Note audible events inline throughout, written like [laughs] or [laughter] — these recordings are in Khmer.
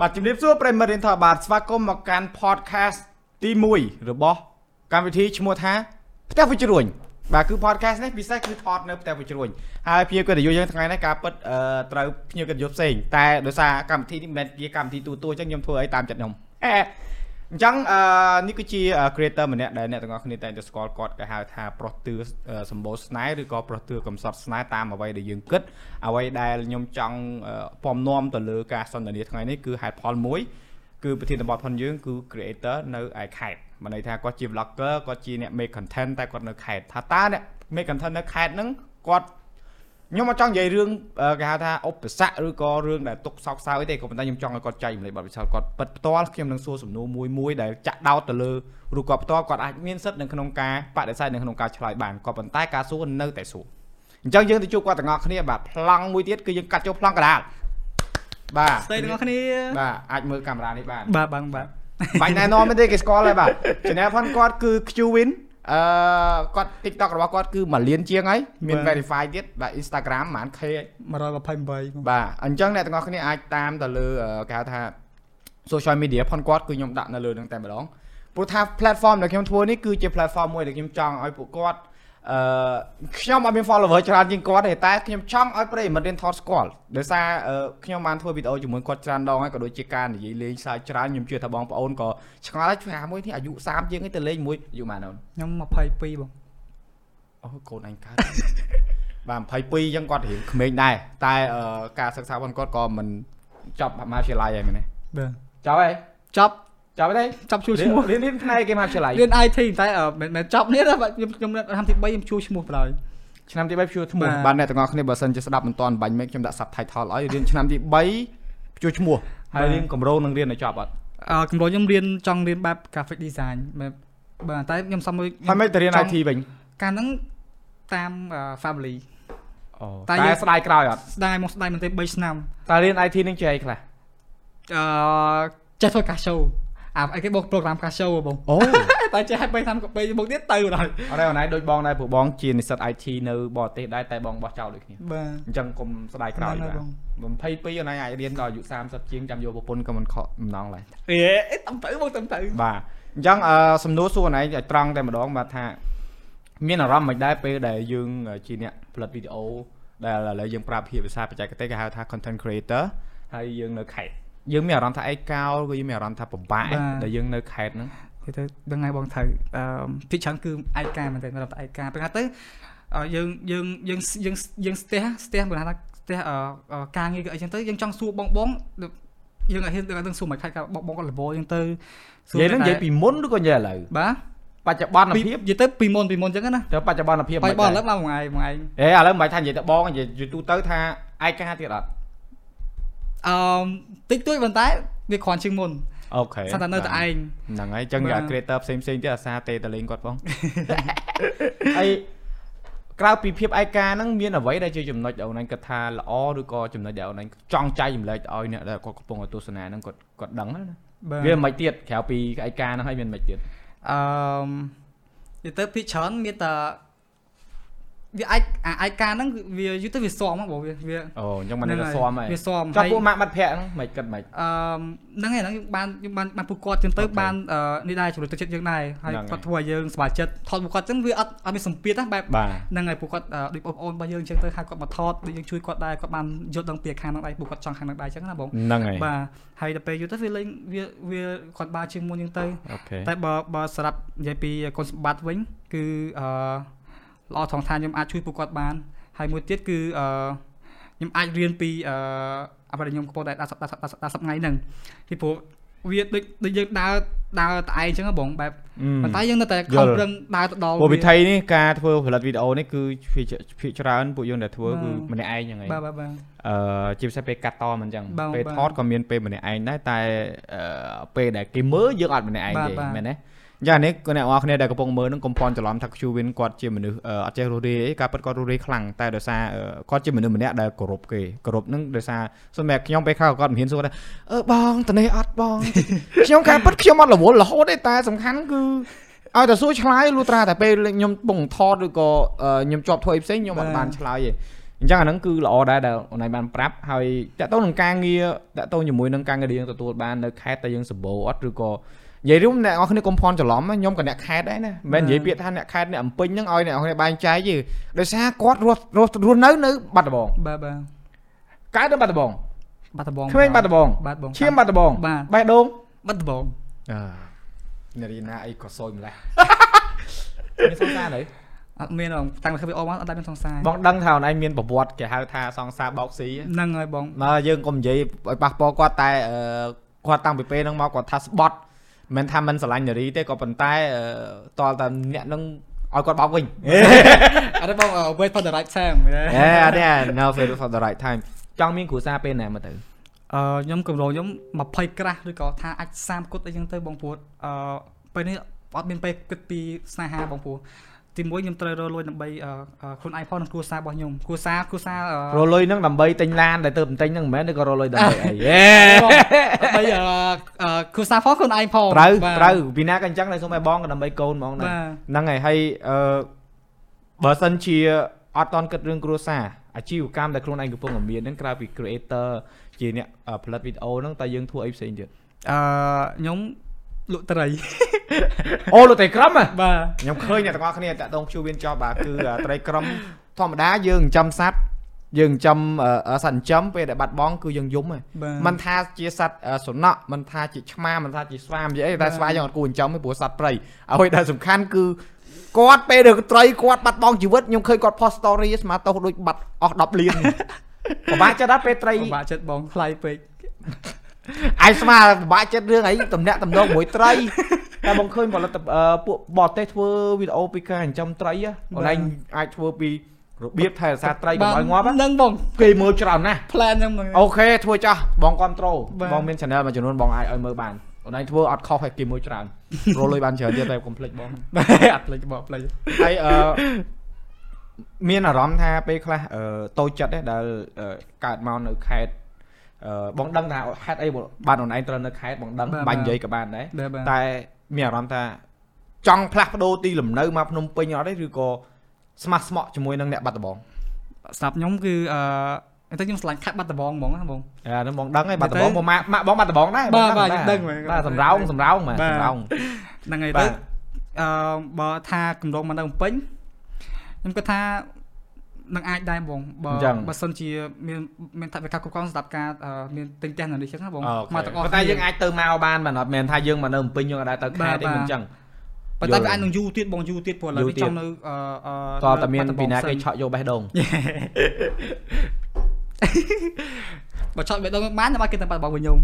បាទជំរាបសួរប្រិមត្តរៀនថតបាទស្វាគមន៍មកកាន់ podcast ទី1របស់កម្មវិធីឈ្មោះថាផ្ទះវិជ្រួញបាទគឺ podcast នេះពិសេសគឺថតនៅផ្ទះវិជ្រួញហើយភ្ញៀវកិត្តិយសយើងថ្ងៃនេះការពិតអឺត្រូវភ្ញៀវកិត្តិយសផ្សេងតែដោយសារកម្មវិធីនេះមិនមែនជាកម្មវិធីទូទៅអញ្ចឹងខ្ញុំធ្វើឲ្យតាមចិត្តខ្ញុំ [laughs] អេអញ្ចឹងអឺនេះគឺជា creator ម្នាក់ដែលអ្នកទាំងអស់គ្នាតែងតែស្គាល់គាត់គេហៅថាប្រុសទឿអឺសម្បូរស្នេហ៍ឬក៏ប្រុសទឿកំសត់ស្នេហ៍តាមអ្វីដែលយើងគិតអ្វីដែលខ្ញុំចង់អឺពំនាំទៅលើការសន្ទនាថ្ងៃនេះគឺហេតុផលមួយ គឺប្រធានបទផងយើងគឺ creator នៅឯខេត្តមិនន័យថាគាត់ជា vlogger គាត់ជាអ្នក make content តែគាត់នៅខេត្តថាតើអ្នក make content នៅខេត្តហ្នឹងគាត់ខ្ញុំមកចង់និយាយរឿងអឺគេហៅថាឧបសគ្គឬក៏រឿងដែលទុកសោកសៅអីទេក៏ប៉ុន្តែខ្ញុំចង់ឲ្យគាត់ចែករំលែកបទពិសោធន៍គាត់ពិតផ្ទាល់ខ្ញុំនឹងសួរសំណួរមួយមួយដែលចាក់ដោតទៅលើឬក៏ផ្ទាល់គាត់អាចមានសិទ្ធិនៅក្នុងការបដិសេធនៅក្នុងការឆ្លើយបានក៏ប៉ុន្តែការសួរនៅតែសួរអញ្ចឹងយើងទៅជួបគាត់ទាំងអស់គ្នាបាទប្លង់មួយទៀតគឺយើងកាត់ចូលប្លង់កណ្ដាលបាទ ស្ដីទាំងអស់គ្នា បាទអាចមើលកាមេរ៉ានេះបាន បាទបងបាទ បាច់ណែនាំទេគេស្គាល់ហើយបាទ channel ផងគាត់គឺ Qwin អឺគាត់ TikTok របស់គាត់គឺ1លានជាងហើយមាន verify ទៀតបាទ Instagram ប្រហែល K ហើយ 128បង បាទអញ្ចឹងអ្នកទាំងអស់គ្នាអាចតាមទៅលើអឺគេហៅថា social media ផងគាត់គឺខ្ញុំដាក់នៅលើនឹងតែម្ដងព្រោះថា platform ដែលខ្ញុំធ្វើនេះគឺជា platform មួយដែលខ្ញុំចង់ឲ្យពួកគាត់អឺខ្ញុំអត់មាន follower ច្រើនជាងគាត់ទេតែខ្ញុំចង់ឲ្យប្រិយមិត្តរៀនថតស្គាល់ដោយសារអឺខ្ញុំបានធ្វើវីដេអូជាមួយគាត់ច្រើនដងហើយក៏ដូចជាការនិយាយលេងសើចច្រើនខ្ញុំជឿថាបងប្អូនក៏ឆ្ងល់ហើយឆ្ងាមួយនេះអាយុ30ជាងឯងទៅលេងមួយអាយុប៉ុន្មានអូន ខ្ញុំ22បង អូកូនអញ [laughs] កើត បាទ22អញ្ចឹងគាត់រៀងក្មេងដែរតែអឺការសិក្សារបស់គាត់ក៏មិនចប់មហាវិទ្យាល័យហើយមែនទេ បាទ ចប់ហើយ ចប់ ចប់ហើយទេ ចប់ជួឈ្មោះ រៀនរៀនផ្នែកគេមហាវិទ្យាល័យ រៀន IT តែអឺមិនមែនចប់នេះទេបាទខ្ញុំខ្ញុំឆ្នាំទី3ខ្ញុំជួឈ្មោះបណ្ដោយ ឆ្នាំទី3ព្យួរឈ្មោះបាបាទទអ្នកទាំងអស់គ្នាបើសិនជាស្ដាប់មិនទាន់បាញ់មែនខ្ញុំដាក់ subtitle ឲ្យរៀនឆ្នាំទី3ព្យួរឈ្មោះហើយរៀនកម្រោងនឹងរៀនឲ្យចប់អត់ អឺកម្រោងខ្ញុំរៀនចង់រៀនបែប graphic design បែបបាទតែខ្ញុំសុំមួយ ហើយមិនទៅរៀន ចង់ IT វិញ កាលហ្នឹងតាមអឺ family អូ តែ តែ យើង ស្ដាយក្រោយអត់ ស្ដាយមកស្ដាយមែនទេ3ឆ្នាំ តែរៀន IT នឹងជាអីខ្លះ អឺចេះធ្វើការ show អាអីគេបង program ការ show ហ៎បង [laughs] អូ តែចេះឲ្យ3ឆ្នាំក៏ពេលមកទៀតទៅបណ្ដោយ អរឯណៃដូចបងដែរព្រោះបងជានិស្សិត IT នៅបរទេសដែរតែបងបោះចោលដូចគ្នា បាទ អញ្ចឹងកុំស្ដាយក្រោយ ស្ដាយ បាទ ក្រោយ 22អូនឯងអាចរៀនដល់អាយុ30ជាងចាំយកប្រពន្ធក៏មិនខកដំណងឡើយ អេអេតំទៅបងតំទៅ បាទអញ្ចឹងអឺសំណួរសួរអូនឯងឲ្យត្រង់តែម្ដងបាទថាមានអារម្មណ៍មិនដែរពេលដែលយើងជាអ្នកផលិតវីដេអូដែលឥឡូវយើងប្រើភាសាបច្ចេកទេសគេហៅថា content creator ហើយយើងនៅខេត្តយើងមានអារម្មណ៍ថាឯកោលក៏យើងមានអារម្មណ៍ថាពិបាកឯងដែលយើងនៅខេត្តហ្នឹង គេទៅដឹងហើយបងត្រូវអឺពីច្រើនគឺឯកាមែនទេសម្រាប់តែឯកាពេលណាទៅអឺយើងយើងយើងយើងយើងស្ទះស្ទះបើថាស្ទះអឺអឺការងារគឺអីចឹងទៅយើងចង់សួរបងបងដូចយើងអត់ហ៊ានទៅដឹងសួរមិនខាច់ថាបងបងគាត់លវលចឹងទៅ និយាយហ្នឹងនិយាយពីមុនឬក៏និយាយឥឡូវ បាទ បច្ចុប្បន្ន ពី ភាព និយាយទៅពីមុនពីមុនចឹងណា ទៅបច្ចុប្បន្នភាព បាយបងឥ មិន ឡូ ដែរ វបងមួយថ្ងៃមួយថ្ងៃ អេឥឡូវមិនបាច់ថានិយាយទៅបងនិយាយនិយាយទូទៅថាឯកាទៀតអត់ អឺតិចតួចប៉ុន្តែវាគ្រាន់ជាងមុន អូខេ ស្អាតតែនៅតែឯង ហ្នឹងហើយអញ្ចឹងយ៉ា បាទ creator ផ្សេងផ្សេងៗទៀតអាសាទេតលេង [laughs] គាត់ផង ហើយក្រៅពីភាពឯកាហ្នឹងមានអ្វីដែលជាចំណុចដែលអូនឯងគិតថាល្អឬក៏ចំណុចដែលអូនឯងចង់ចែករំលែកទៅឲ្យអ្នកដែលគាត់កំពុងតែទស្សនាហ្នឹងគាត់គាត់ដឹងហ្នឹងណា បាទ វាមិនទៀតក្រៅពីឯកាហ្នឹងហើយមានមិនទៀត អឺនិយាយទៅភាគច្រើនមានតែវាអាចអាឯកាហ្នឹងគឺវាយូរទៅវាស៊ំហ៎បងវាវា អូអញ្ចឹងមិនដឹង ហ្នឹ ថា ង ស៊ាំហើយ វាស៊ំ ចុះ ហើយ ពួកម៉ាក់បាត់ភ័ក្រហ្នឹងមិនគិតមិន អឺហ្នឹងឯងហ្នឹងយើងបានយើងបានបានពួកគាត់ចឹងទៅ អូខេ បានអឺនេះដែរជួយទឹកចិត្តយើងដែរហើយ ហ្នឹងហើយ គាត់ធ្វើឲ្យយើងសប្បាយចិត្តថតពួកគាត់ចឹងវាអត់អត់មានសម្ពាធណាបែប បាទ ហ្នឹងហើយពួកគាត់អឺដូចបងប្អូនរបស់យើងចឹងទៅហៅគាត់មកថតដូចយើងជួយគាត់ដែរគាត់បានយល់ដឹងពីខាងហ្នឹងដែរពួកគាត់ចង់ខាងហ្នឹងដែរចឹងណាបង ហ្នឹងហើយ បាទហើយដល់ពេលយូរទៅវាលេងវាវាគាត់បានជាងមុនចឹងទៅ អូខេ តែបើបើសម្រាប់និយាយពីគុណសម្បត្តិវិញ គឺអឺល្អថងថាខ្ញុំអាចជួយពួកគាត់បាន ហើយមួយទៀតគឺអឺខ្ញុំអាចរៀនពីអឺអ្វីដែលខ្ញុំកំពុងតែដាក់សដាក់សដាក់សដាក់សថ្ងៃហ្នឹងពីព្រោះវាដូចដូចយើងដើរដើរតែឯងអញ្ចឹងហ៎បងបែប អឺ ប៉ុន្តែយើងនៅតែ យ ខំ ល់ ប្រឹងដើរទៅដល់ ពួកវិ វា ធីនេះការធ្វើផលិតវីដេអូនេះគឺភាគភាគច្រើនពួកយើងដែលធ្វើ បាទ គឺម្នាក់ឯងហ្នឹងហើយ បាទបាទបាទ អឺជាពិសេសពេលកាត់តមិនអញ្ចឹង បាទ ពេល បាទ ថតក៏មានពេលម្នាក់ឯងដែរតែអឺពេលដែលគេមើលយើងអត់ម្នាក់ឯង បាទ ទេ បាទ មែនទេយ៉ាងនេះគឺអ្នកនរគ្នាដែលកំពុងមើលនឹងកំពុងច្រឡំថា Qwin គាត់ជាមនុស្សអឺអត់ចេះរស់រាយអីការពិតគាត់រស់រាយខ្លាំងតែដោយសារអឺគាត់ជាមនុស្សម្នាក់ដែលគោរពគេគោរពនឹងដោយសារសម្រាប់ខ្ញុំពេលខ្លះក៏គាត់មិនហ៊ានសួរថាអឺបងតនេះអត់បង ខ្ញុំការពិតខ្ញុំអត់រវល់រហូតទេតែសំខាន់គឺឲ្យតែសួរឆ្លើយលុះត្រាតែពេលខ្ញុំពងថតឬក៏អឺខ្ញុំជាប់ធ្វើអីផ្សេងខ្ញុំអត់បានឆ្លើយទេ អញ្ចឹងអាហ្នឹងគឺល្អដែរដែលអូនឯងបានប្រាប់ហើយតកតងនឹងការងារតកតងជាមួយនឹងការងារដែលយើងទទួលបាននៅខេត្តតែយើងសម្បូរអត់ឬក៏និយាយរួមអ្នកនរគ្នាកុំភ័ន្តច្រឡំណាខ្ញុំក៏អ្នកខេត្តដែរណាមិនមែននិយាយពាក្យថាអ្នកខេត្តអ្នកអំពេញហ្នឹងឲ្យអ្នកនរគ្នាបែងចែកទេដោយសារគាត់រស់រស់រស់នៅនៅបាត់ដំបង បាទបាទ កើតនៅបាត់ដំបង បាត់ដំបង ក្មេងបាត់ដំបង បាទបង ឈាមបាត់ដំបង បាទ បេះដូង បាត់ដំបង អឺនារីណាអីក៏សយម្លេះ [laughs] មានសង្សារហើយ អត់មានបងតាំងពីខ្ញុំអស់មកអត់ដែលមានសង្សារ បងដឹងថាអូនឯងមានប្រវត្តិគេហៅថាសង្សារបោកស៊ី ហ្នឹងហើយបង [laughs] មកយើងកុំនិយាយឲ្យប៉ះពាល់គាត់តែអឺគាត់តាំងពីពេលហ្នឹងមកគាត់ថាស្បត់មិនថាមិនស្រឡាញ់នារីទេក៏ប៉ុន្តែអឺតលតែអ្នកហ្នឹងឲ្យគាត់បោកវិញ អត់ទេបង wait for the right time [laughs] អេអត់ទេ now for the right time ចង់មានគ្រួសារពេលណាមកទៅ អឺខ្ញុំកម្រងខ្ញុំ20ក្រាស់ឬក៏ថាអាច30គត់អីចឹងទៅបងព្រោះអឺពេលនេះអត់មានពេលគិតពីស្នេហាបងព្រោះទីមួយខ្ញុំត្រូវរកលុយដើម្បីអឺអឺខ្លួនឯងផងនិងគ្រួសាររបស់ខ្ញុំគ្រួសារគ្រួសារអឺ រលុយហ្នឹងដើម្បីទិញឡានដែលទៅបន្ទិញហ្នឹងមិនមែនទេក៏រលុយដើម្បី [laughs] អី ដើម្បីអឺអឺគ្រួសារផងខ្លួនឯងផង ត្រូវ បាទ ត្រូវពីណាក៏អញ្ចឹងដែរសូមឲ្យបងក៏ដើម្បីកូនហ្មងដែរហបាទ្នឹងហើយហើយអឺបើសិនជាអត់តន់គិតរឿងគ្រួសារអាជីវកម្មដែលខ្លួនឯងកំពុងតែមានហ្នឹងក្រៅពី creator ជាអ្នកអឺផលិតវីដេអូហ្នឹងតើយើងធ្វើអីផ្សេងទៀត អឺខ្ញុំលក់ត្រី [laughs] អូលោកត្រីក្រមហ៎ បាទ ខ្ញុំឃើញអ្នកទាំងអស់គ្នាតាក់ទងជួវៀនចប់បាទគឺអ่าត្រីក្រមធម្មតាយើងចិញ្ចឹមសត្វយើងចិញ្ចឹមអឺអឺសត្វចិញ្ចឹមពេលដែលបាត់បង់គឺយើងយំហ៎ បាទ មិនថាជាសត្វអឺសុណក់មិនថាជាឆ្មាមិនថាជាស្វាមជាអីតែស្វាយើងអត់គួរចិញ្ចឹមទេព្រោះសត្វព្រៃអ្វីដែលសំខាន់គឺគាត់ពេលដែលត្រីគាត់បាត់បង់ជីវិតខ្ញុំឃើញគាត់ post story ស្មាតោសដូចបាត់អស់10លាន ពិបាកចិត្តណាស់ពេលត្រី ពិបាកចិត្តបងថ្លៃពេក អាយស្មាពិបាកចិត្តរឿងអីតំណាក់តំណងមួយ [laughs] ត្រីតែបងឃើញផលិតអឺពួកបរទេសធ្វើវីដេអូពីការចិញ្ចឹមត្រីហ៎អនឡាញអាចធ្វើពីរបៀបថែរក្សាត្រីកុំឲ្យងាប់ហ៎ ហ្នឹងបង គេមើលច្រើនណាស់ plan ហ្នឹងបង [laughs] អូខេធ្វើចាស់បងគ្រប់ត្រូល បាទ បងមាន channel មួយចំនួនបងអាចឲ្យមើលបានអូនឯងធ្វើអត់ខុសហើយគេមួយ [laughs] ច្រើន រលុយបានច្រើនទៀតតែកុំភ្លេចបង អត់ផ្លេចបងផ្លេច [laughs] ហើយអឺមានអារម្មណ៍ថាពេលខ្លះអឺតូចចិត្តទេដែលអឺកើតមកនៅខេត្តអឺបងដឹងថាហេតុអីបានអូនឯងត្រូវនៅខេត្តបងដឹងបាញ់និយាយក៏បានដែរ បាទបាទ តែមានអារម្មណ៍ថាចង់ផ្លាស់ប្ដូរទីលំនៅមកភ្នំពេញអត់ទេឬក៏ស្មះស្ម័គ្រជាមួយនឹងអ្នកបាត់ដំបង ស្រាប់ខ្ញុំគឺអឺតែខ្ញុំឆ្លាញ់ខាត់បាត់ដំបងហ្មងណាបង អាហ្នឹងបង [laughs] ដឹងហើយបាត់ដំបងបងម៉ាក់ម៉ាក់បងបាត់ដំបងដែរ បាទបាទ បង ខ្ញុំដឹងហ្មង បាទសម្រោងសម្រោងបាទ បាទ សម្រោង ហ្នឹងហើយ បា ទៅ ទ អឺបើថាកម្រងមកនៅភ្នំពេញខ្ញុំគិតថានឹងអាចដែរបងបើ អញ្ចឹង បើសិនជាមានមានថាវិការគ្រប់គ្រងសម្រាប់ការអឺមានទិញផ្ទះនៅនេះចឹងណាបង អូខេ មកទាំងអស់ ប៉ុន្តែ គ្នា យើងអាចទៅមកបានមិនអត់មែនថាយើងមកនៅភ្នំពេញយើងអាចទៅខេត្តទេ បាទ មិនអញ្ចឹង ប៉ុន្តែ យល់ វាអាចនឹងយូរទៀតបងយូរទៀតព្រោះឥឡូយូរវវា ទៀត ចង់នៅអឺអ តើតាមានពីណាគេ បាត់ដំបងផ្សេង ឆក់យកបេះដូង [laughs] បើឆក់បេះដូងបានតែមកគេទៅបាត់បងវិញខ្ញុំ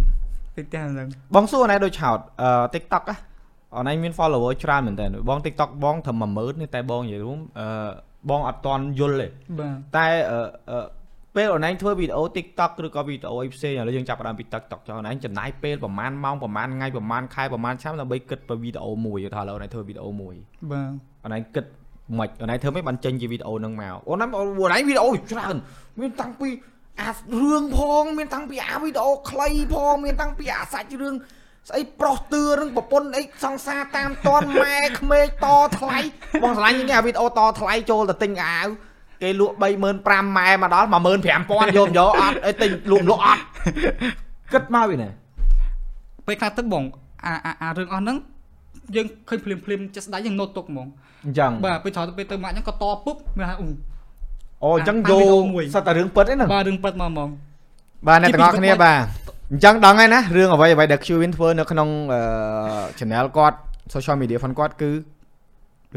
ទិញផ្ទះនៅហ្នឹង បងសួរណែដូចឆោតអឺ TikTok ហ៎អនឯងមាន follower ច្រើនមែនតើបង TikTok បងត្រឹម10000ទេតែបងនិយាយរួមអឺបងអត់តន់យល់ទេ បាទ តែអឺអឺពេលអនឯងធ្វើវីដេអូ TikTok ឬក៏វីដេអូអីផ្សេងឥឡូវយើងចាប់ផ្ដើមពី TikTok ចុះអនឯងចំណាយពេលប្រហែលម៉ោងប្រហែលថ្ងៃប្រហែលខែប្រហែលឆ្នាំដើម្បីគិតពីវីដេអូមួយថាឥឡូវអនឯងធ្វើវីដេអូមួយ បាទ អូនឯងគិតមិនអូនឯងធ្វើមិនបានចេញជាវីដេអូហ្នឹងមកអូនឯងអូនឯងវីដេអូច្រើនមានតាំងពីអារឿងផងមានតាំងពីអាវីដេអូខ្លីផងមានតាំងពីអាសាច់រឿងស្អីប្រុសទឿរឿងប្រពន្ធអីសង្សារតាមត [laughs] នម៉ែក្មេកតថ្លៃបងស្រឡាញ់នេះអាវីដេអូតថ្លៃចូលទៅទិញអាវគេលក់35000ម៉ែមកដល់15000យកមិនយកអត់អីទិញលក់មិនលក់អត់គិតមកពីណា ពេលខ្លះទឹកបងអាអាអារឿងអស់ហ្នឹងយើងឃើញភ្លាមភ្លាមចេះស្ដាយយើងណូតទុកហ្មង អញ្ចឹង បាទពេលច្រើនទៅពេលទៅម៉ាក់ហ្នឹងក៏តពុបមើលថាអូ អូអញ្ចឹង អា យក វីដេអូមួយ សត្វតែរឿងពិតឯហ្នឹង បាទរឿងប៉ិតមកហ្មង បាទអ្នកទាំងអស់ ជីវិត គ្នា របស់ បាទអញ្ចឹងដឹងហើយណារឿងអ្វីអ្វីដែល Qwin ធ្វើនៅក្នុងអឺ channel គាត់ social media ផងគាត់គឺ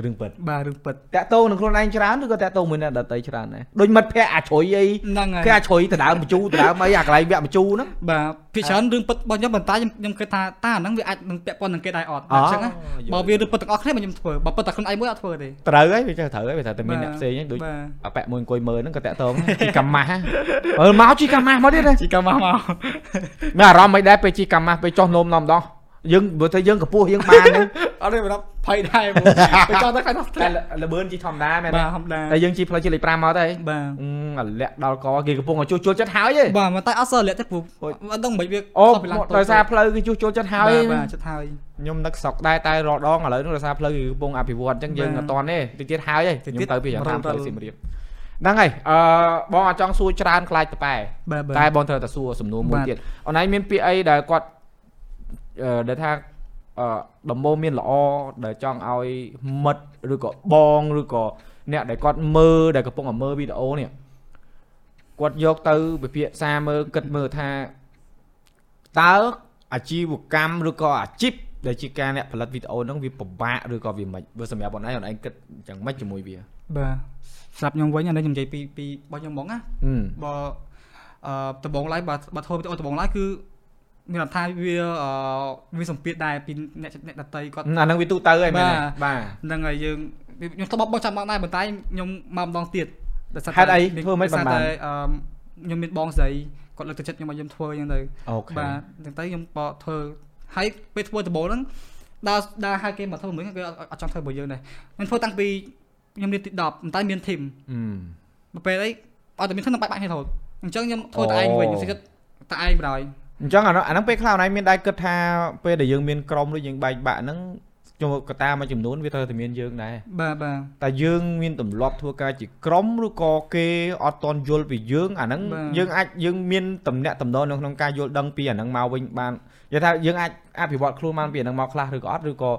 រឿងពិត បាទរឿងប៉ិត តាក់ទងនឹងខ្លួនឯងច្រើនឬក៏តាក់ទងមួយអ្នកដតីច្រើនដែរដូចមិត្តភ័ក្តិអាជ្រុយអី ហ្នឹងហើ គេ យ អាជ្រុយដណ្ដើមបញ្ជូរដណ្ដើមអីអាកន្លែងវគ្គបញ្ជូរហ្នឹង បាទភាគច្រើនរឿងប៉ិតរបស់ខ្ញុំប៉ុន្តែខ្ញុំខ្ញុំគិតថាតើអាហ្នឹងវាអាចនឹងពាក់ព័ន្ធនឹងគេដែរអត់អញ្ចឹងណាបើវារឿងប៉ិតទាំងអស់គ្នាមកខ្ញុំធ្វើបើប៉ិតតែខ្លួនឯងមួយអត់ធ្វើទេ ត្រូវហើយវាចេះត្រូវហើយវាថាតែមានអ្នកផ្សេងហ្នឹងដូច បាទ អប៉ែកមួយអង្គុយមើលហ្នឹងក៏តាក់ទ [laughs] ងជីកាម៉ាស់អឺមកជីកាម៉ាស់មកទៀតណា ជីកមកមក មានអារម្មណ៍មិនដែរពេលជីកាម៉ាស់ពេលចោះនោមនោមដោះយើងបើថាយើងកពស់យើងបានហ្នឹង អត់ទេបងភ័យដែរបងពេលចង់ទៅខ្លាំងទៅ [laughs] តែលបឿនជីធម្មតាមែន បា ទេ ទហំដែរ តែយើងជីផ្លូវជីលេខ5មកទៅហី បាទ អឺអាលាក់ដល់កគេកំពុងឲ្យជួសជុលចិត្តហើយឯង បាទមិនតែអត់សល់លាក់ទេព្រោះអត់ដឹងមិនវា អូ ខុសពីឡានតូច ដោយសារផ្លូវគេជួសជុលចិត្តហើយឯង បាទចិត្តហើយ ខ្ញុំនឹកស្រុកដែរតែរដងឥឡូវនេះដោយសារផ្លូវគេកំពុងអភិវឌ្ឍអញ្ចឹងយើងអបាទ ត់តាន់ទេតិចទៀតហើយឯង តិច ខ្ញុំ ទៀត ទៅពីយ៉ាង រល តាមផ្លូវ រល សៀមរាប ហ្នឹងហើយអឺបងអត់ចង់សួរច្រើនខ្លាចតប៉ែ បាទ តែ បាទ បងត្រូវតែសួរសំណួរមួយ បាទ ទៀតអូនឯងមានពាក្យអីដែលគាត់អឺដែលថាអឺដំបូងមានល្អដែលចង់ឲ្យមិត្តឬក៏បងឬក៏អ្នកដែលគាត់មើលដែលកំពុងតែមើលវីដេអូនេះគាត់យកទៅពិភាក្សាមើលគិតមើលថាតើអាជីវកម្មឬក៏អាជីពដែលជាការអ្នកផលិតវីដេអូហ្នឹងវាពិបាកឬក៏វាមិនបើសម្រាប់បងឯងបងឯងគិតយ៉ាងម៉េចជាមួយវា បាទស្រាប់ខ្ញុំវិញអានេះខ្ញុំនិយាយពីពីរបស់ខ្ញុំហ្មងណា ហឹម បើអឺដំបងឡាយបើបើធ្វើវីដេអូដំបងឡាយគឺមានន័យថាវាអឺវាសម្ពាធដែរពីអ្នកអ្នកដតីគាត់ អាហ្នឹងវាទូទៅហើយមែនទេ បាទ បាទ ហ្នឹងហើយយើងខ្ញុំធ្លាប់បោះចាំបងដែរប៉ុន្តែខ្ញុំមកម្ដងទៀតដោយសារ ហេតុអីធ្វើមិន ដោយ បាន សារ បាន តែអឺខ្ញុំមានបងស្រីគាត់លើកទឹកចិត្តខ្ញុំឲ្យខ្ញុំធ្វើអញ្ចឹងទៅ អូខេ បាទអញ្ចឹងទៅខ្ញុំបកធ្វើហើយពេលធ្វើដំបងហ្នឹងដល់ដល់ហៅគេមកធ្វើមួយគេអត់អត់ចង់ធ្វើជាមួយយើងដែរខ្ញុំធ្វើតាំងពីខ្ញុំរៀនទី10ប៉ុន្តែមានធីម អឺ មកពេលអីអត់តែមានខ្ញុំនឹងបាច់បាក់គ្នារហូតអញ្ចឹងខ្ញុំធ្វើតែ អូ ឯងវិញខ្ញុំគិតតែឯងបណ្ដោយ អញ្ចឹងអាហ្នឹងអាហ្នឹងពេលខ្លះអនឡាញមានដែរគិតថាពេលដែលយើងមានក្រុមឬយើងបែកបាក់ហ្នឹងជួយកត្តាមួយចំនួនវាត្រូវតែមានយើងដែរ បាទបាទ តែយើងមានទម្លាប់ធ្វើការជាក្រុមឬក៏គេអត់តន់យល់ពីយើងអាហ្នឹង បាទ យើងអាចយើងមានតំណែងតំណងនៅក្នុងការយល់ដឹងពីអាហ្នឹងមកវិញបាននិយាយថាយើងអាចអភិវឌ្ឍខ្លួនបានពីអាហ្នឹងមកខ្លះឬក៏អត់ឬក៏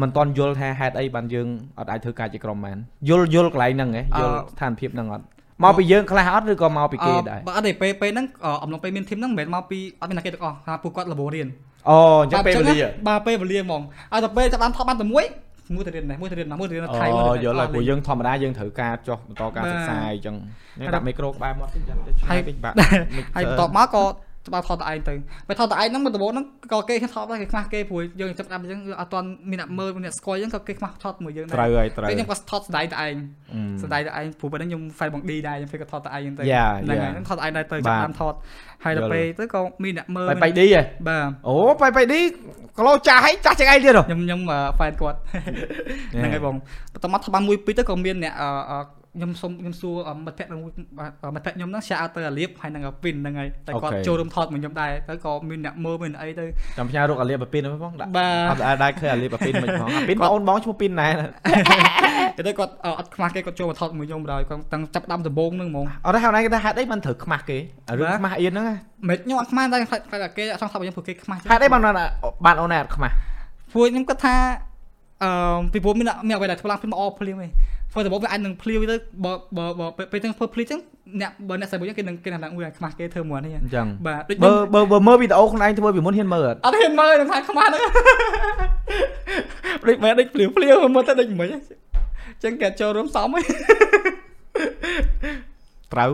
មិនតន់យល់ថាហេតុអីបានយើងអត់អាចធ្វើការជាក្រុមបានយល់យល់កន្លែងហ្នឹងហ៎យល់ អឺ ស្ថានភាពហ្នឹងអត់មកពីយើងខ្លះអត់ឬក៏មកពីគេដែរ អឺបើអត់ទេពេលពេលហ្នឹងអឺអំឡុងពេលមានធីមហ្នឹងមិនមែនមកពីអត់មានអ្នកគេទាំងអស់ថាពួកគាត់លបរៀន អូអញ្ចឹងពេលវេលា បាទពេលវេលាហ្មងហើយតែពេលចាប់បានថប់បានតែមួយមួយទៅរៀននេះមួយទៅរៀនណាមួយទៅរៀនថៃមួអូយទៅ យ រៀន ល់ អ ហើយ ស់ ព្រោះយើងធម្មតាយើងត្រូវការចុះបន្តការ បាទ សិក្សាអីចឹងយើងដាក់មីក្រូក្បែរមាត់ទៅចឹងទៅឆ្ងា ហើយយ ពេកបាក់មិន ហើយបន្ទាប់មកក៏ច្បាប់ថតតែឯងទៅពេលថតតែឯងហ្នឹងមកដំបូងហ្នឹងក៏គេថតដែរគេខ្មាស់គេព្រោះយើងចាប់ដាក់អញ្ចឹងគឺអត់ទាន់មានអ្នកមើលមានអ្នកស្គាល់អញ្ចឹងក៏គេខ្មាស់ថតមួយយើងដែរ ត្រូវហើយត្រូវ ពេលខ្ញុំក៏ថតស្ដាយតែឯង ស្ដាយស្ដាយតែឯងព្រោះពេលហ្នឹងខ្ញុំ file បង D ដែរខ្ញុំពេលក៏ថតតែឯងទៅ Yeah, ហ្នឹង yeah. ហើយហ្នឹងថតតែឯងដែរទៅ បាទ ចាប់តាមថតហើយដយល់ល់ ពេលទៅក៏មានអ្នកមើល បែក បា បែ ទ កឌីហ៎អូបែកបែកឌីគីឡូចាស់ហើយចាស់ជាងឯងទៀតហ៎ ខ្ញុំខ្ញុំ file [laughs] គាត់ ហ្នឹងហើយបងបន្តមកថ្បាំមួយពីរទៅក៏មានអ្នកអអខ្ញុំសុំខ្ញុំសួរអមិត្តភក្តិមួយអមិត្តភក្តិខ្ញុំហ្នឹង share out ទៅអាលៀបហើយនឹងវិនហ្នឹងហើយតែគាត់ Okay. ចូលរួមថតមួយខ្ញុំដែរទៅក៏មានអ្នកមើលមានអី [laughs] ទៅ ចាំផ្ញើរកអាលីបអាពីនហ្នឹងផងដាក់ បា អ ទ ត់ដែរឃើញអាលីបអាពីនមិន [laughs] ផងអាពីនបងអូនបងឈ្មោះពីនណែ តែទៅគាត់អអត់ខ្មាស់គេគាត់ចូលមកថតមួយខ្ញុំបណ្ដោយគាត់តាំងចាប់ផ្ដើមដំបូងហ្នឹងហ្មង អត់ទេហើយគេថាហេតុអីបានត្រូវខ្មាស់គេរឿង បាទ ខ្មាស់អៀនហ្នឹងហ៎ មិនខ្ញុំអត់ខ្មាស់តែខ្លាចខ្លាចតែគេអត់ចង់ថតមួយខ្ញុំព្រោះគេខ្មាស់ចឹង ហេតុអីបានបានអូនណែអត់ខ្មាស់ ព្រោះខ្ញុំគិតថាអឺពីព្រោះមានមានអ្វីដែលធ្វើឡើងភ្លាមអភ្លាមឯងធ្វើតែបងវាអាចនឹងភ្លាវទៅបើបើបើពេលពេលទាំងធ្វើភ្លាវចឹងអ្នកបើអ្នកស្រីមួយចឹងគេនឹងគេនឹងឡើងអ៊ុយខ្មាស់គេធ្វើមួយនេះ អញ្ចឹង បាទដូច បើ ខ្ញុំ បើបើមើលវីដេអូខ្លួនឯងធ្វើពីមុនហ៊ានមើលអត់ អត់ហ៊ានមើលនឹងថាខ្មាស់ហ្នឹងដូចមែនដូចភ្លាវភ្លាវមើលទៅដូចមិនហ៎ចឹងគេចូលរួមសំហ៎ [laughs] ត្រូវ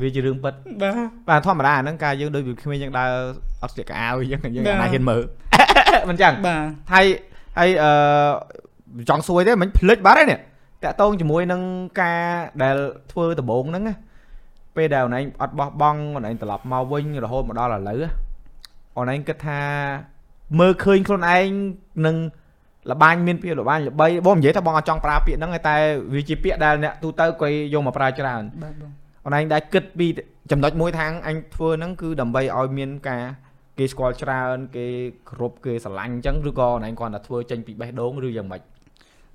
វាជារឿងពិត បាទ បាទធម្មតាអាហ្នឹងការយើងដូចវាគ្មានយើងដើរអត់ស្ទាក់កៅអញ្ចឹង [laughs] យើង បាទ អាណាហ៊ានមើល [laughs] មិនចឹង បាទ ហើយហើយអឺចង់សួរទេមិនភ្លេចបាត់ហើយនេះតាក់តងជាមួយនឹងការដែលធ្វើដំបងហ្នឹងណាពេលដែលអូនឯងអត់បោះបង់អូនឯងត្រឡប់មកវិញរហូតមកដល់ឥឡូវណាអូនឯងគិតថាមើលឃើញខ្លួនឯងនឹងលបាញមានពាក្យលបាញល្បីបងនិយាយថាបងអត់ចង់ប្រើពាក្យហ្នឹងឯងតែវាជាពាក្យដែលអ្នកទូទៅគេយកមកប្រើច្រើន បាទបង អូនឯងដែរគិតពីចំណុចមួយថាងអញធ្វើហ្នឹងគឺដើម្បីឲ្យមានការគេស្គាល់ច្រើនគេគ្រប់គេស្រឡាញ់អញ្ចឹងឬក៏អូនឯងគ្រាន់តែធ្វើចេញពីបេះដូងឬយ៉ាងម៉េច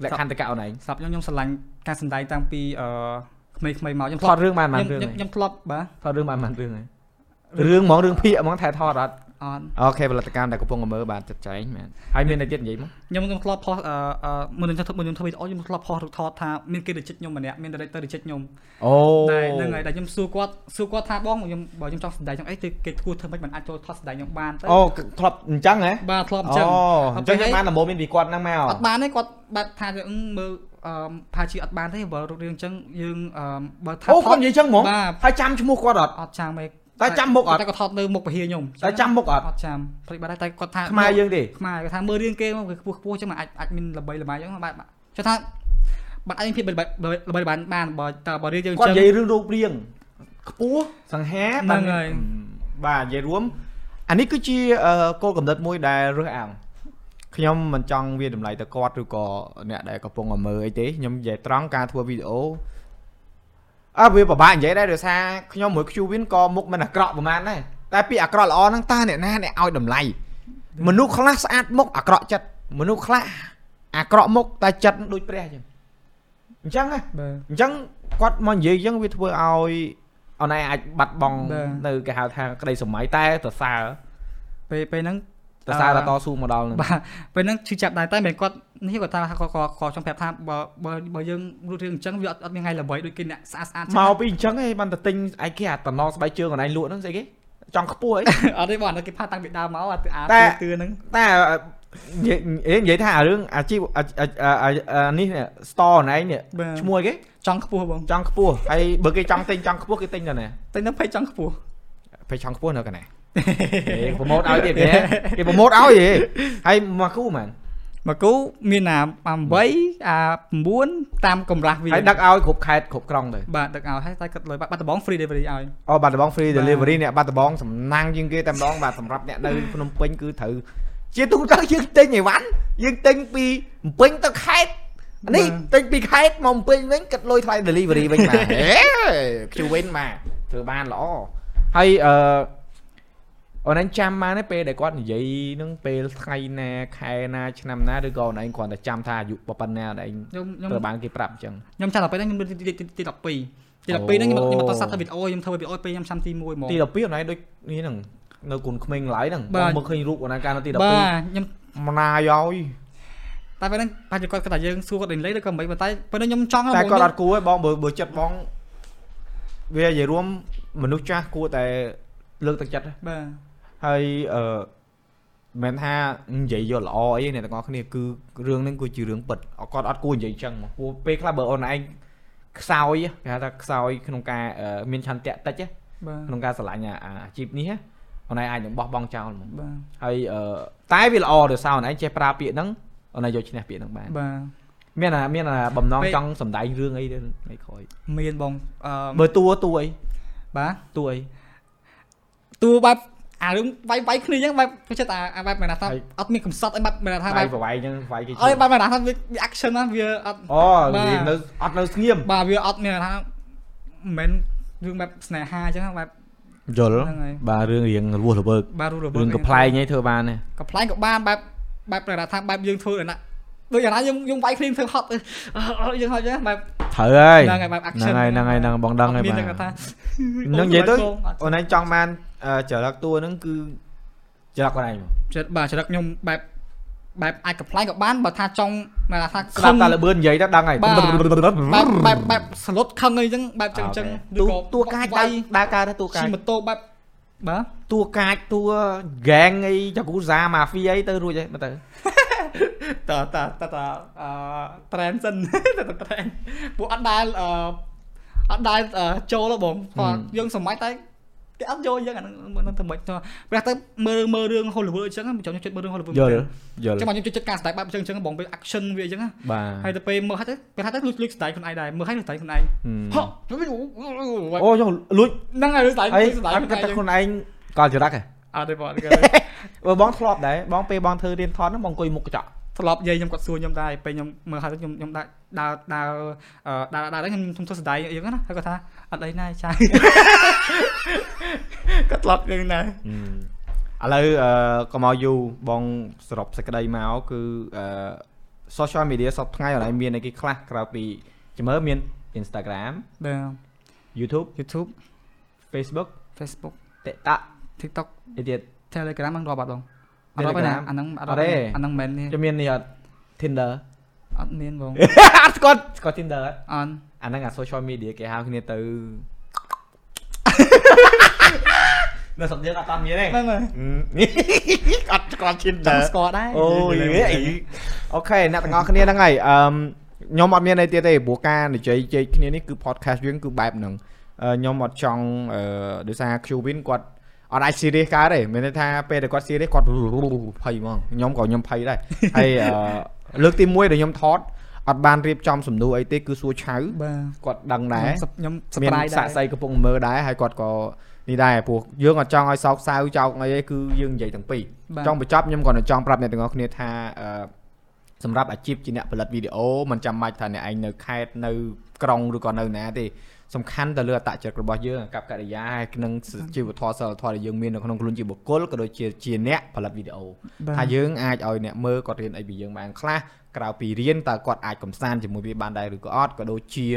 លក្ខន្តិកៈអូនឯង សម្រាប់ខ្ញុំខ្ញុំស្រឡាញ់ការសម្ដែងតាំងពីអឺក្មេងៗមកខ្ញុំ ថ ធ្លា ត ប់ រឿងបានបាន ខ្ញុំ រឿងហ៎ ខ្ញុំធ្លាប់បាទ ថតរឿងបានបានរឿងហ៎រឿងហ្មងរឿងភាគហ្មងថែថតអត់ អត់ អូខេផលិតកម្មដែលកំពុងតែមើលបានចិត្តចែងមែនហើយមានអីទៀតនិយាយមក ខ្ញុំខ្ញុំធ្លាប់ផុសអឺអឺមុនខ្ញុំធ្វើមុនខ្ញុំធ្វើវីដេអូខ្ញុំធ្លាប់ផុសរូបថតថាមានគេរិះគិតខ្ញុំម្នាក់មាន director រិះគិតខ្ញុំ អូ តែលហ្នឹងហើយតែខ្ញុំសួរគាត់សួរគាត់ថាបងខ្ញុំបើខ្ញុំចង់សម្ដែងចង់អីគឺគេគួរធ្វើមិនមិនអាចចូលថតសម្ដែងខ្ញុំបានទៅ អូធ្លាប់អញ្ចឹងហ៎ បាទធ្លាប់អ អូ ញ្ចឹង អញ្ចឹងយើ អត់ងពេលបានដំបូងមានពីគាត់ហ្នឹងមក អត់បានទេគាត់បាត់ថាអឺមើលអឺផាជាអត់បានទេបើរូបរាងអញ្ចឹងយើងអឺបើថា អូ ថ គាត់ ត និយាយអញ្ចឹងហ្មង បាទ ហើយចាំឈ្មោះគាត់អត់ អត់ចាំទេ តែចាំមុខអត់ តែគាត់ថតនៅមុខពហិខ្ញុំ តែចាំមុខអត់ អត់ចាំព្រោះបាត់ដែរតែគាត់ថា ខ្មែរយើងទេ ខ្មែរគាត់ថាមើលរឿងគេមកវាខ្ពស់ខ្ពស់ចឹងមកអាចអាចមានល្បីល្បាញចឹងបាទចុះថាបាត់អាចមានភាពល្បីល្បីល្បាញបានបើតើបើរឿងយើង គាត់ ចឹង និយាយរឿងរូបរាងខ្ពស់សង្ហា ហ្នឹងហើយ បាទនិយាយរួមអានេះគឺជាអឺគោលកំណត់មួយដែលរើសអើងខ្ញុំមិនចង់វាតម្លៃទៅគាត់ឬក៏អ្នកដែលកំពុងតែមើលអីទេខ្ញុំនិយាយត្រង់ការធ្វើវីដេអូអើវាពិបាកនិយាយដែរដោយសារខ្ញុំមួយ Qwin ក៏មុខមិនអាក្រក់ប្រហែលដែរតែពាក្យអាក្រក់ល្អហ្នឹងតើអ្នកណាអ្នកឲ្យតម្លៃមនុស្សខ្លះស្អាតមុខអាក្រក់ចិត្តមនុស្សខ្លះអាក្រក់មុខតែចិត្តដូចព្រះចឹង អញ្ចឹងណា បាទ អញ្ចឹងគាត់មកនិយាយអញ្ចឹងវាធ្វើឲ្យអនឯងអាចបាត់បង់ បាទ នៅគេហៅថាក្តីសម័យតែសរសើរ ពេលពេលហ្នឹង សរសើរ អឺ ដល់តស៊ូមកដល់ហ្នឹង បាទពេលហ្នឹងឈឺចាប់ដែរតែមិនមែនគាត់នេះគាត់ថាគាត់គាត់គាត់ចង់ប្រាប់ថាបើបើបើយើងរួចរឿងអញ្ចឹងវាអត់អត់មានថ្ងៃល្បីដូចគេអ្នកស្អាតស្អាត មកពីអញ្ចឹងឯងបានតែទិញឯងគេអាតំណងស្បែកជើងអនឯងលក់ហ្នឹងស្អីគេចង់ខ្ពស់អី [laughs] អត់ទេបងអានោះគេផាតាំងពីដើមមកអាទ តែ អាទឿហ្នឹង តែនិយាយនិយាយថារឿងអាជីពអាអាអាអានេះនេះ store អនឯងនេះ បាទ ឈ្មោះអីគេ ចង់ខ្ពស់បង ចង់ខ្ពស់ហើយបើគេចង់ទិញចង់ខ្ពស់គេទិញនៅណា តែហ្នឹងភ័យចង់ខ្ពស់ [laughs] ពេលចង់ខ្ពស់នៅកណ្ណា គេប្រម៉ូតឲ្យទៀតគេគេប្រម៉ូតឲ្យ [laughs] ហីហើយមកគូមែន មកគូមានណា8អា9តាមកម្រាស់វា ហើយដឹកឲ្យគ្រប់ខេត្តគ្រប់ក្រុងទៅ បាទដឹកឲ្យហើយតែគាត់លុយបាត់បាត់ដបង free delivery ឲ្យ អូបាត់ដំបង free បាទ delivery អ្នកបាត់ដំបងសំណាំងជាងគេតែម្ដងបាទសម្រាប់អ្នក [laughs] នៅភ្នំពេញគឺត្រូវជាទូទៅយើងទិញអីវ៉ាន់យើងទិញពីភ្នំពេញទៅខេត្តអានេះទិញពីខេត្តមកភ្នំពេញវិញគិតលុយថ្លៃ delivery វិញ [laughs] បាទហេខ្ជិលវិញបាទធ្វើបានល្អហើយអឺអូនឯងចាំបានទេពេលដែលគាត់និយាយនឹងពេលថ្ងៃណាខែណាឆ្នាំណាឬក៏អូនឯងគ្រាន់តែចាំថាអាយុប៉ុណ្ណាអូនឯង ខ្ញុំខ្ញុំ ត្រូវបានគេប្រាប់អញ្ចឹង ខ្ញុំចាំដល់ពេលហ្នឹងខ្ញុំរៀនទីទីទី12ទី12ហ្នឹងខ្ញុំអត់ខ្ញុំអត់តសាប់ទៅវីដេអូខ្ញុំធ្វើវីដេអូពេលខ្ញុំឆ្នាំទី1ហ្មង ទី12អូនឯងដូចនេះហ្នឹងនៅគុនក្មេងឡើយហ្នឹង បាទ បងមកឃើញរូបអូនឯងកាលនៅទី បាទ 12 ខ្ញុំ ម្នាយហើយ តែពេលហ្នឹងបាច់ជាគាត់គាត់ថាយើងសួរគាត់លេងលេងឬក៏មិនបើតែពេលហ្នឹងខ្ញុំចង់ តែ បង គាត់អត់គួរទេបងបើបើចិត្តបងវានិយាយរួមមនុស្សចាស់គួរតែលើកទឹកចិត្តទេ បាទ ហើយអឺមិនមែនថានិយាយយកល្អអីអ្នកទាំងអស់គ្នាគឺរឿងហ្នឹងគឺជារឿងពិតគាត់អត់គួរនិយាយអញ្ចឹងមកព្រោះពេលខ្លះបើអូនឯងខ្សោយគេហៅថាខ្សោយក្នុងការអឺមានឆន្ទៈតិចទេ បាទ ក្នុងការស្រឡាញ់អាអាអាជីពនេះអូនឯងអាចនឹងបោះបង់ចោលហ្មង បា ហើយអឺតែវាល្អដោយសារអូនឯងចេះប្រើពាក្យហ្នឹងអូនឯងយកឈ្នះពាក្យហ្នឹងបាន ទបាទ មានអាមានអាបំណងចង់សំដែងរឿងអីទេថ្ងៃក្រោយ មានបងអឺ មើលតួតួអី បាទ តួអី តួបែបអារឿងវាយវាយគ្នាអញ្ចឹងបែបខ្ញុំចិត្តអាអាបែបមិនណាថា ហើយ អត់មានកំសត់អីបែបមិនណាថា ថាវាបែប យប្រវាយហ្នឹងវាយគេ អី ជើង បែបមិនណាថាវាវា action ណាវាអត់ អូ បាទ វានៅអត់នៅស្ងៀម បាទវាអត់មានថាមិនមែនរឿងបែបស្នេហាអញ្ចឹងណាបែប យល់ ហ្នឹងហើយ បាទរឿងរៀងរវស់រវើក បាទរស់រវើ រឿងកំ pl ែងឯងធ្វើបានទេ កំប្លែងក៏បានបែបបែបមិនណាថាបែបយើងធ្វើដល់ណាដូចយ៉ាងណាយើងយើងវាយគ្នាធ្វើហត់អឺអឺយើងហត់អញ្ចឹងបែប ត្រូវហើយ ហ្នឹងហើយបែប action ហ្នឹងហើយហ្នឹងហើយហ្នឹងបងដឹងហើយ អត់មាន បាទ ទេគាត់ថា នឹងនិយាយទៅ អូអត់ អូនឯងចង់បានអឺចរិតតួហ្នឹងគឺចរិតខ្លួនឯងមក ចិត្តបាទចរិតខ្ញុំបែបបែបអាចកំ pl ែងក៏បានបើថាចង់មកថា ស្ដាប់តែល ខឹង បឿននិយាយទៅដឹងហើយ បាទ បែបបែបបែបសលុតខឹងអីចឹងបែបចឹងចឹង តួតួកាចដើរដើរការទៅតួកាច ឈីម៉ូតូបែបបាទ តួកាចតួហ្គេងអីចាគូសាម៉ាហ្វីអីទៅរួចហើយមើលទៅ តតតតអឺ transition [laughs] តត trend ពួកអត់ដែលអឺអត់ដែលអឺចូលហ៎បងគាត់យើងសម័យតែគេអត់យកយើងអាហ្នឹងហ្នឹងធ្វើម៉េចទៅព្រះទៅមើលមើលរឿង Hollywood អញ្ចឹងខ្ញុំខ្ញុំចិត្តមើលរឿង Hollywood យល់ ចាំមកខ្ញុំចិត្តការស្ដាយបែបអញ្ចឹងអញ្ចឹងបងពេល action វាអញ្ចឹងណា បា ហើយ ទ ទៅពេលមើលហើយទៅពេលហើយទៅលួចលួចស្ដាយខ្លួនឯងដែរមើលហើយលួចស្ដាយខ្លួនឯងហ៎ អូយលួច ហ្នឹងហើយលួចស្ដាយលួ អី ចស្ដាយ អត់គិត ខ្លួន ថា ឯង ខ្លួនឯងកលចរិតហ៎ អត់ទេបង បើបងធ្លាប់ដែរបងពេលបងធ្វើរៀនថតហ្នឹងបងអង្គុយមុខកញ្ចក់ ធ្លាប់យាយខ្ញុំគាត់សួរខ្ញុំដែរពេលខ្ញុំមើលហើយទៅខ្ញុំខ្ញុំដាក់ដើរដើរអឺដើរដើរខ្ញុំខ្ញុំធ្វើស្ដាយអីហ្នឹងណាហើយគាត់ថាអត់អីណាចាគាត់ធ្លាប់យ៉ាងណា ឥឡូវអឺកុំឲ្យយូរបងសរុបសេចក្តីមកគឺអឺ social media សពថ្ងៃអនឡាញមានអីគេខ្លះក្រៅពីជំរឿមាន Instagram បាទ YouTube YouTube Facebook Facebook TikTok TikTok អីទៀត Telegram ហ្នឹងរាប់អត់បងអត់រាប់ទេណា Telegram អាហ្នឹងអត់ អត់ រាប់ ទេ ទេអាហ្នឹងមិនមែនទេ ជំមាននេះអត់ Tinder អត់មានបង អត់ស្គាល់ស្គាល់ Tinder អត់ អត់ អាហ្នឹងអា social media គេហៅគ្នាទៅ នៅស្រុកយើងអត់តាន់មានទេ ហ្នឹងហើយ អត់ស្គាល់ ចង់ Tinder ស្គាល់ដែរ អូយអីអូខេអ្នកទាំងអស់គ្នាហ្នឹងហើយអឺមខ្ញុំអត់មានអីទៀតទេព្រោះការនិយាយជែកគ្នានេះគឺ podcast យើងគឺបែបហ្នឹងអឺខ្ញុំអត់ចង់អឺដោយសារ Qwin គាត់អត់អាច serious កើតទេមានន័យថាពេលដែលគាត់ serious គាត់ភ័យហ្មងខ្ញុំក៏ខ្ញុំភ័យដែរហើយអឺលើកទី1ដែលខ្ញុំថតអត់បានរៀបចំសំណួរអីទេគឺសួរឆៅ បាទ គាត់ដឹងដែរ ខ្ញុំ មាន surprise សាក់សៃកំពុងមើលដែរហើយគាត់ក៏នេះដែរព្រោះយើងអត់ចង់ឲ្យសោកសៅចោកអីទេគឺយើងនិយាយទាំងពី បាទ រចង់បញ្ចប់ខ្ញុំក៏នឹងចង់ប្រាប់អ្នកទាំងអស់គ្នាថាអឺសម្រាប់អាជីពជាអ្នកផលិតវីដេអូមិនចាំបាច់ថាអ្នកឯងនៅខេត្តនៅក្រុងឬក៏នៅណាទេសំខាន់ទៅលើអត្តចរិតរបស់យើងអាកប្បកិរិយាហើយនិងជីវធម៌សិលធម៌ដែលយើងមាននៅក្នុងខ្លួនជាបុគ្គលក៏ដូចជាជាអ្នកផលិតវីដេអូ បាទ ថាយើងអាចឲ្យអ្នកមើលគាត់រៀនអីពីយើងបានខ្លះ ក្រៅពីរៀនតើគាត់អាចកំសាន្តជាមួយវាបានដែរឬក៏អត់ក៏ដូចជា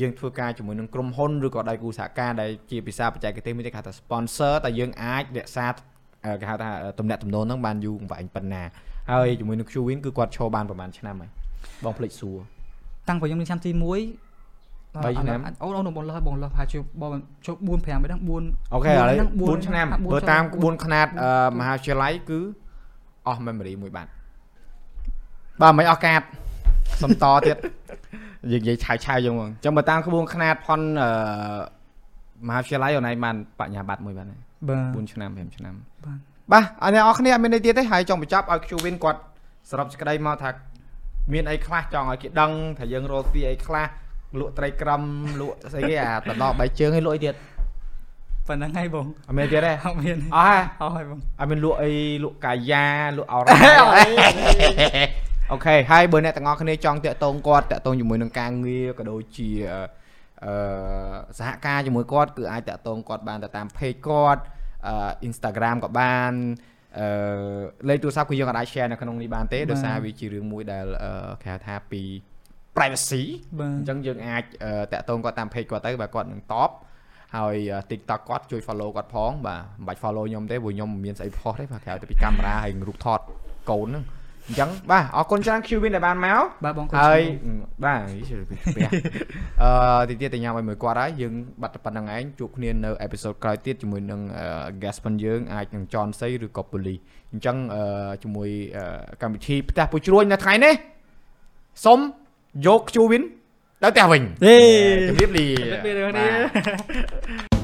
យើងធ្វើការជាមួយនឹងក្រុមហ៊ុនឬក៏ដៃគូសហការដែលជាភាសាបច្ចេកទេសមានគេហៅថា sponsor តើយើងអាចរក្សាអឺគេហៅថាតំណាក់តំណងហ្នឹងបានយូរអង្វែងប៉ុណ្ណាហើយជាមួយនឹង Qwin គឺគាត់ឈរបានប្រហែលឆ្នាំហើយបងភ្លេចសួរ តាំងពីខ្ញុំនៅឆ្នាំទី1 បីឆ្នាំ អូនអូនបងលះបងលះហើយជួបបងជួប4 5ហ្នឹង4 អូខេឥឡូវ4ឆ្នាំបើតាមក្បួនខ្នាតអឺមហាវិទ្យាល័យគឺអស់ memory មួយបាត់បាទមិនអស់កាតសំតទៀតយើងនិយាយឆាវឆាវយើងហ្មងចាំបើតាមក្បួនខ្នាតផនអឺមហាវិទ្យាល័យអនឡាញបានបញ្ញាបត្រមួយបាត់ហើយ បាទ 4ឆ្នាំ5ឆ្នាំ បាទ បាទអរអ្នកនរគ្នាអត់មានអីទៀតទេហើយចង់បញ្ចប់ឲ្យ Qwin គាត់សរុបសេចក្តីមកថាមានអីខ្លះចង់ឲ្យគេដឹងថាយើងរកស៊ីអីខ្លះលក់ត្រីក្រំលក់ស្អីគេអាដណ្ដប់បៃជើងឲ្យលក់អីទៀត ប៉ុណ្្នឹងហើយបង អត់មានទៀតទេ អត់មាន អស់ហើយ អស់ហើយបង អត់មានលក់អីលក់កាយ៉ាលក់អរ៉ាអូខេហើយបើអ្នកទាំងអស់គ្នាចង់តាក់ទងគាត់តាក់ទងជាមួយនឹងការងារក៏ដូចជាអឺសហការជាមួយគាត់គឺអាចតាក់ទងគាត់បានទៅតាម page គាត់អឺ Instagram ក៏បានអឺលេខទូរស័ព្ទគឺយើងក៏អាច share នៅក្នុងនេះបានទេដោយសារវាជារឿងមួយដែលអឺគេហៅថាពី privacy បា អ ទ ញ្ចឹងយើងអាចអឺតាក់ទងគាត់តាម page គាត់ទៅបាទគាត់នឹងតបហើយអឺ TikTok គាត់ជួយ follow គាត់ផងបាទមិនបាច់ follow ខ្ញុំទេព្រោះខ្ញុំមិនមានស្អីផុសទេបាទក្រៅតែពីកាមេរ៉ាហើយរូបថតកូនហ្នឹងអញ្ចឹងបាទអរគុណច្រើន Qwin ដែលបានមក បាទបងគុណ ហើយអឺបាទនិយាយពីព្រះ អឺទីទៀតតែញ៉ាំឲ្យមួយគាត់ហើយយើងបាត់តែប៉ុណ្្នឹងឯងជួបគ្នានៅ episode ក្រោយទៀតជាមួយនឹងអឺ guest ផងយើងអាចនឹងចនសីឬក៏ police អញ្ចឹងអឺជាមួយអឺកម្មវិធីផ្ទះពុជរួយនៅថ្ងៃនេះសូមយក Qwin ទៅផ្ទះវិញ ទេ ជំរាបលា ជំរាបលាបងប្អូន បាទ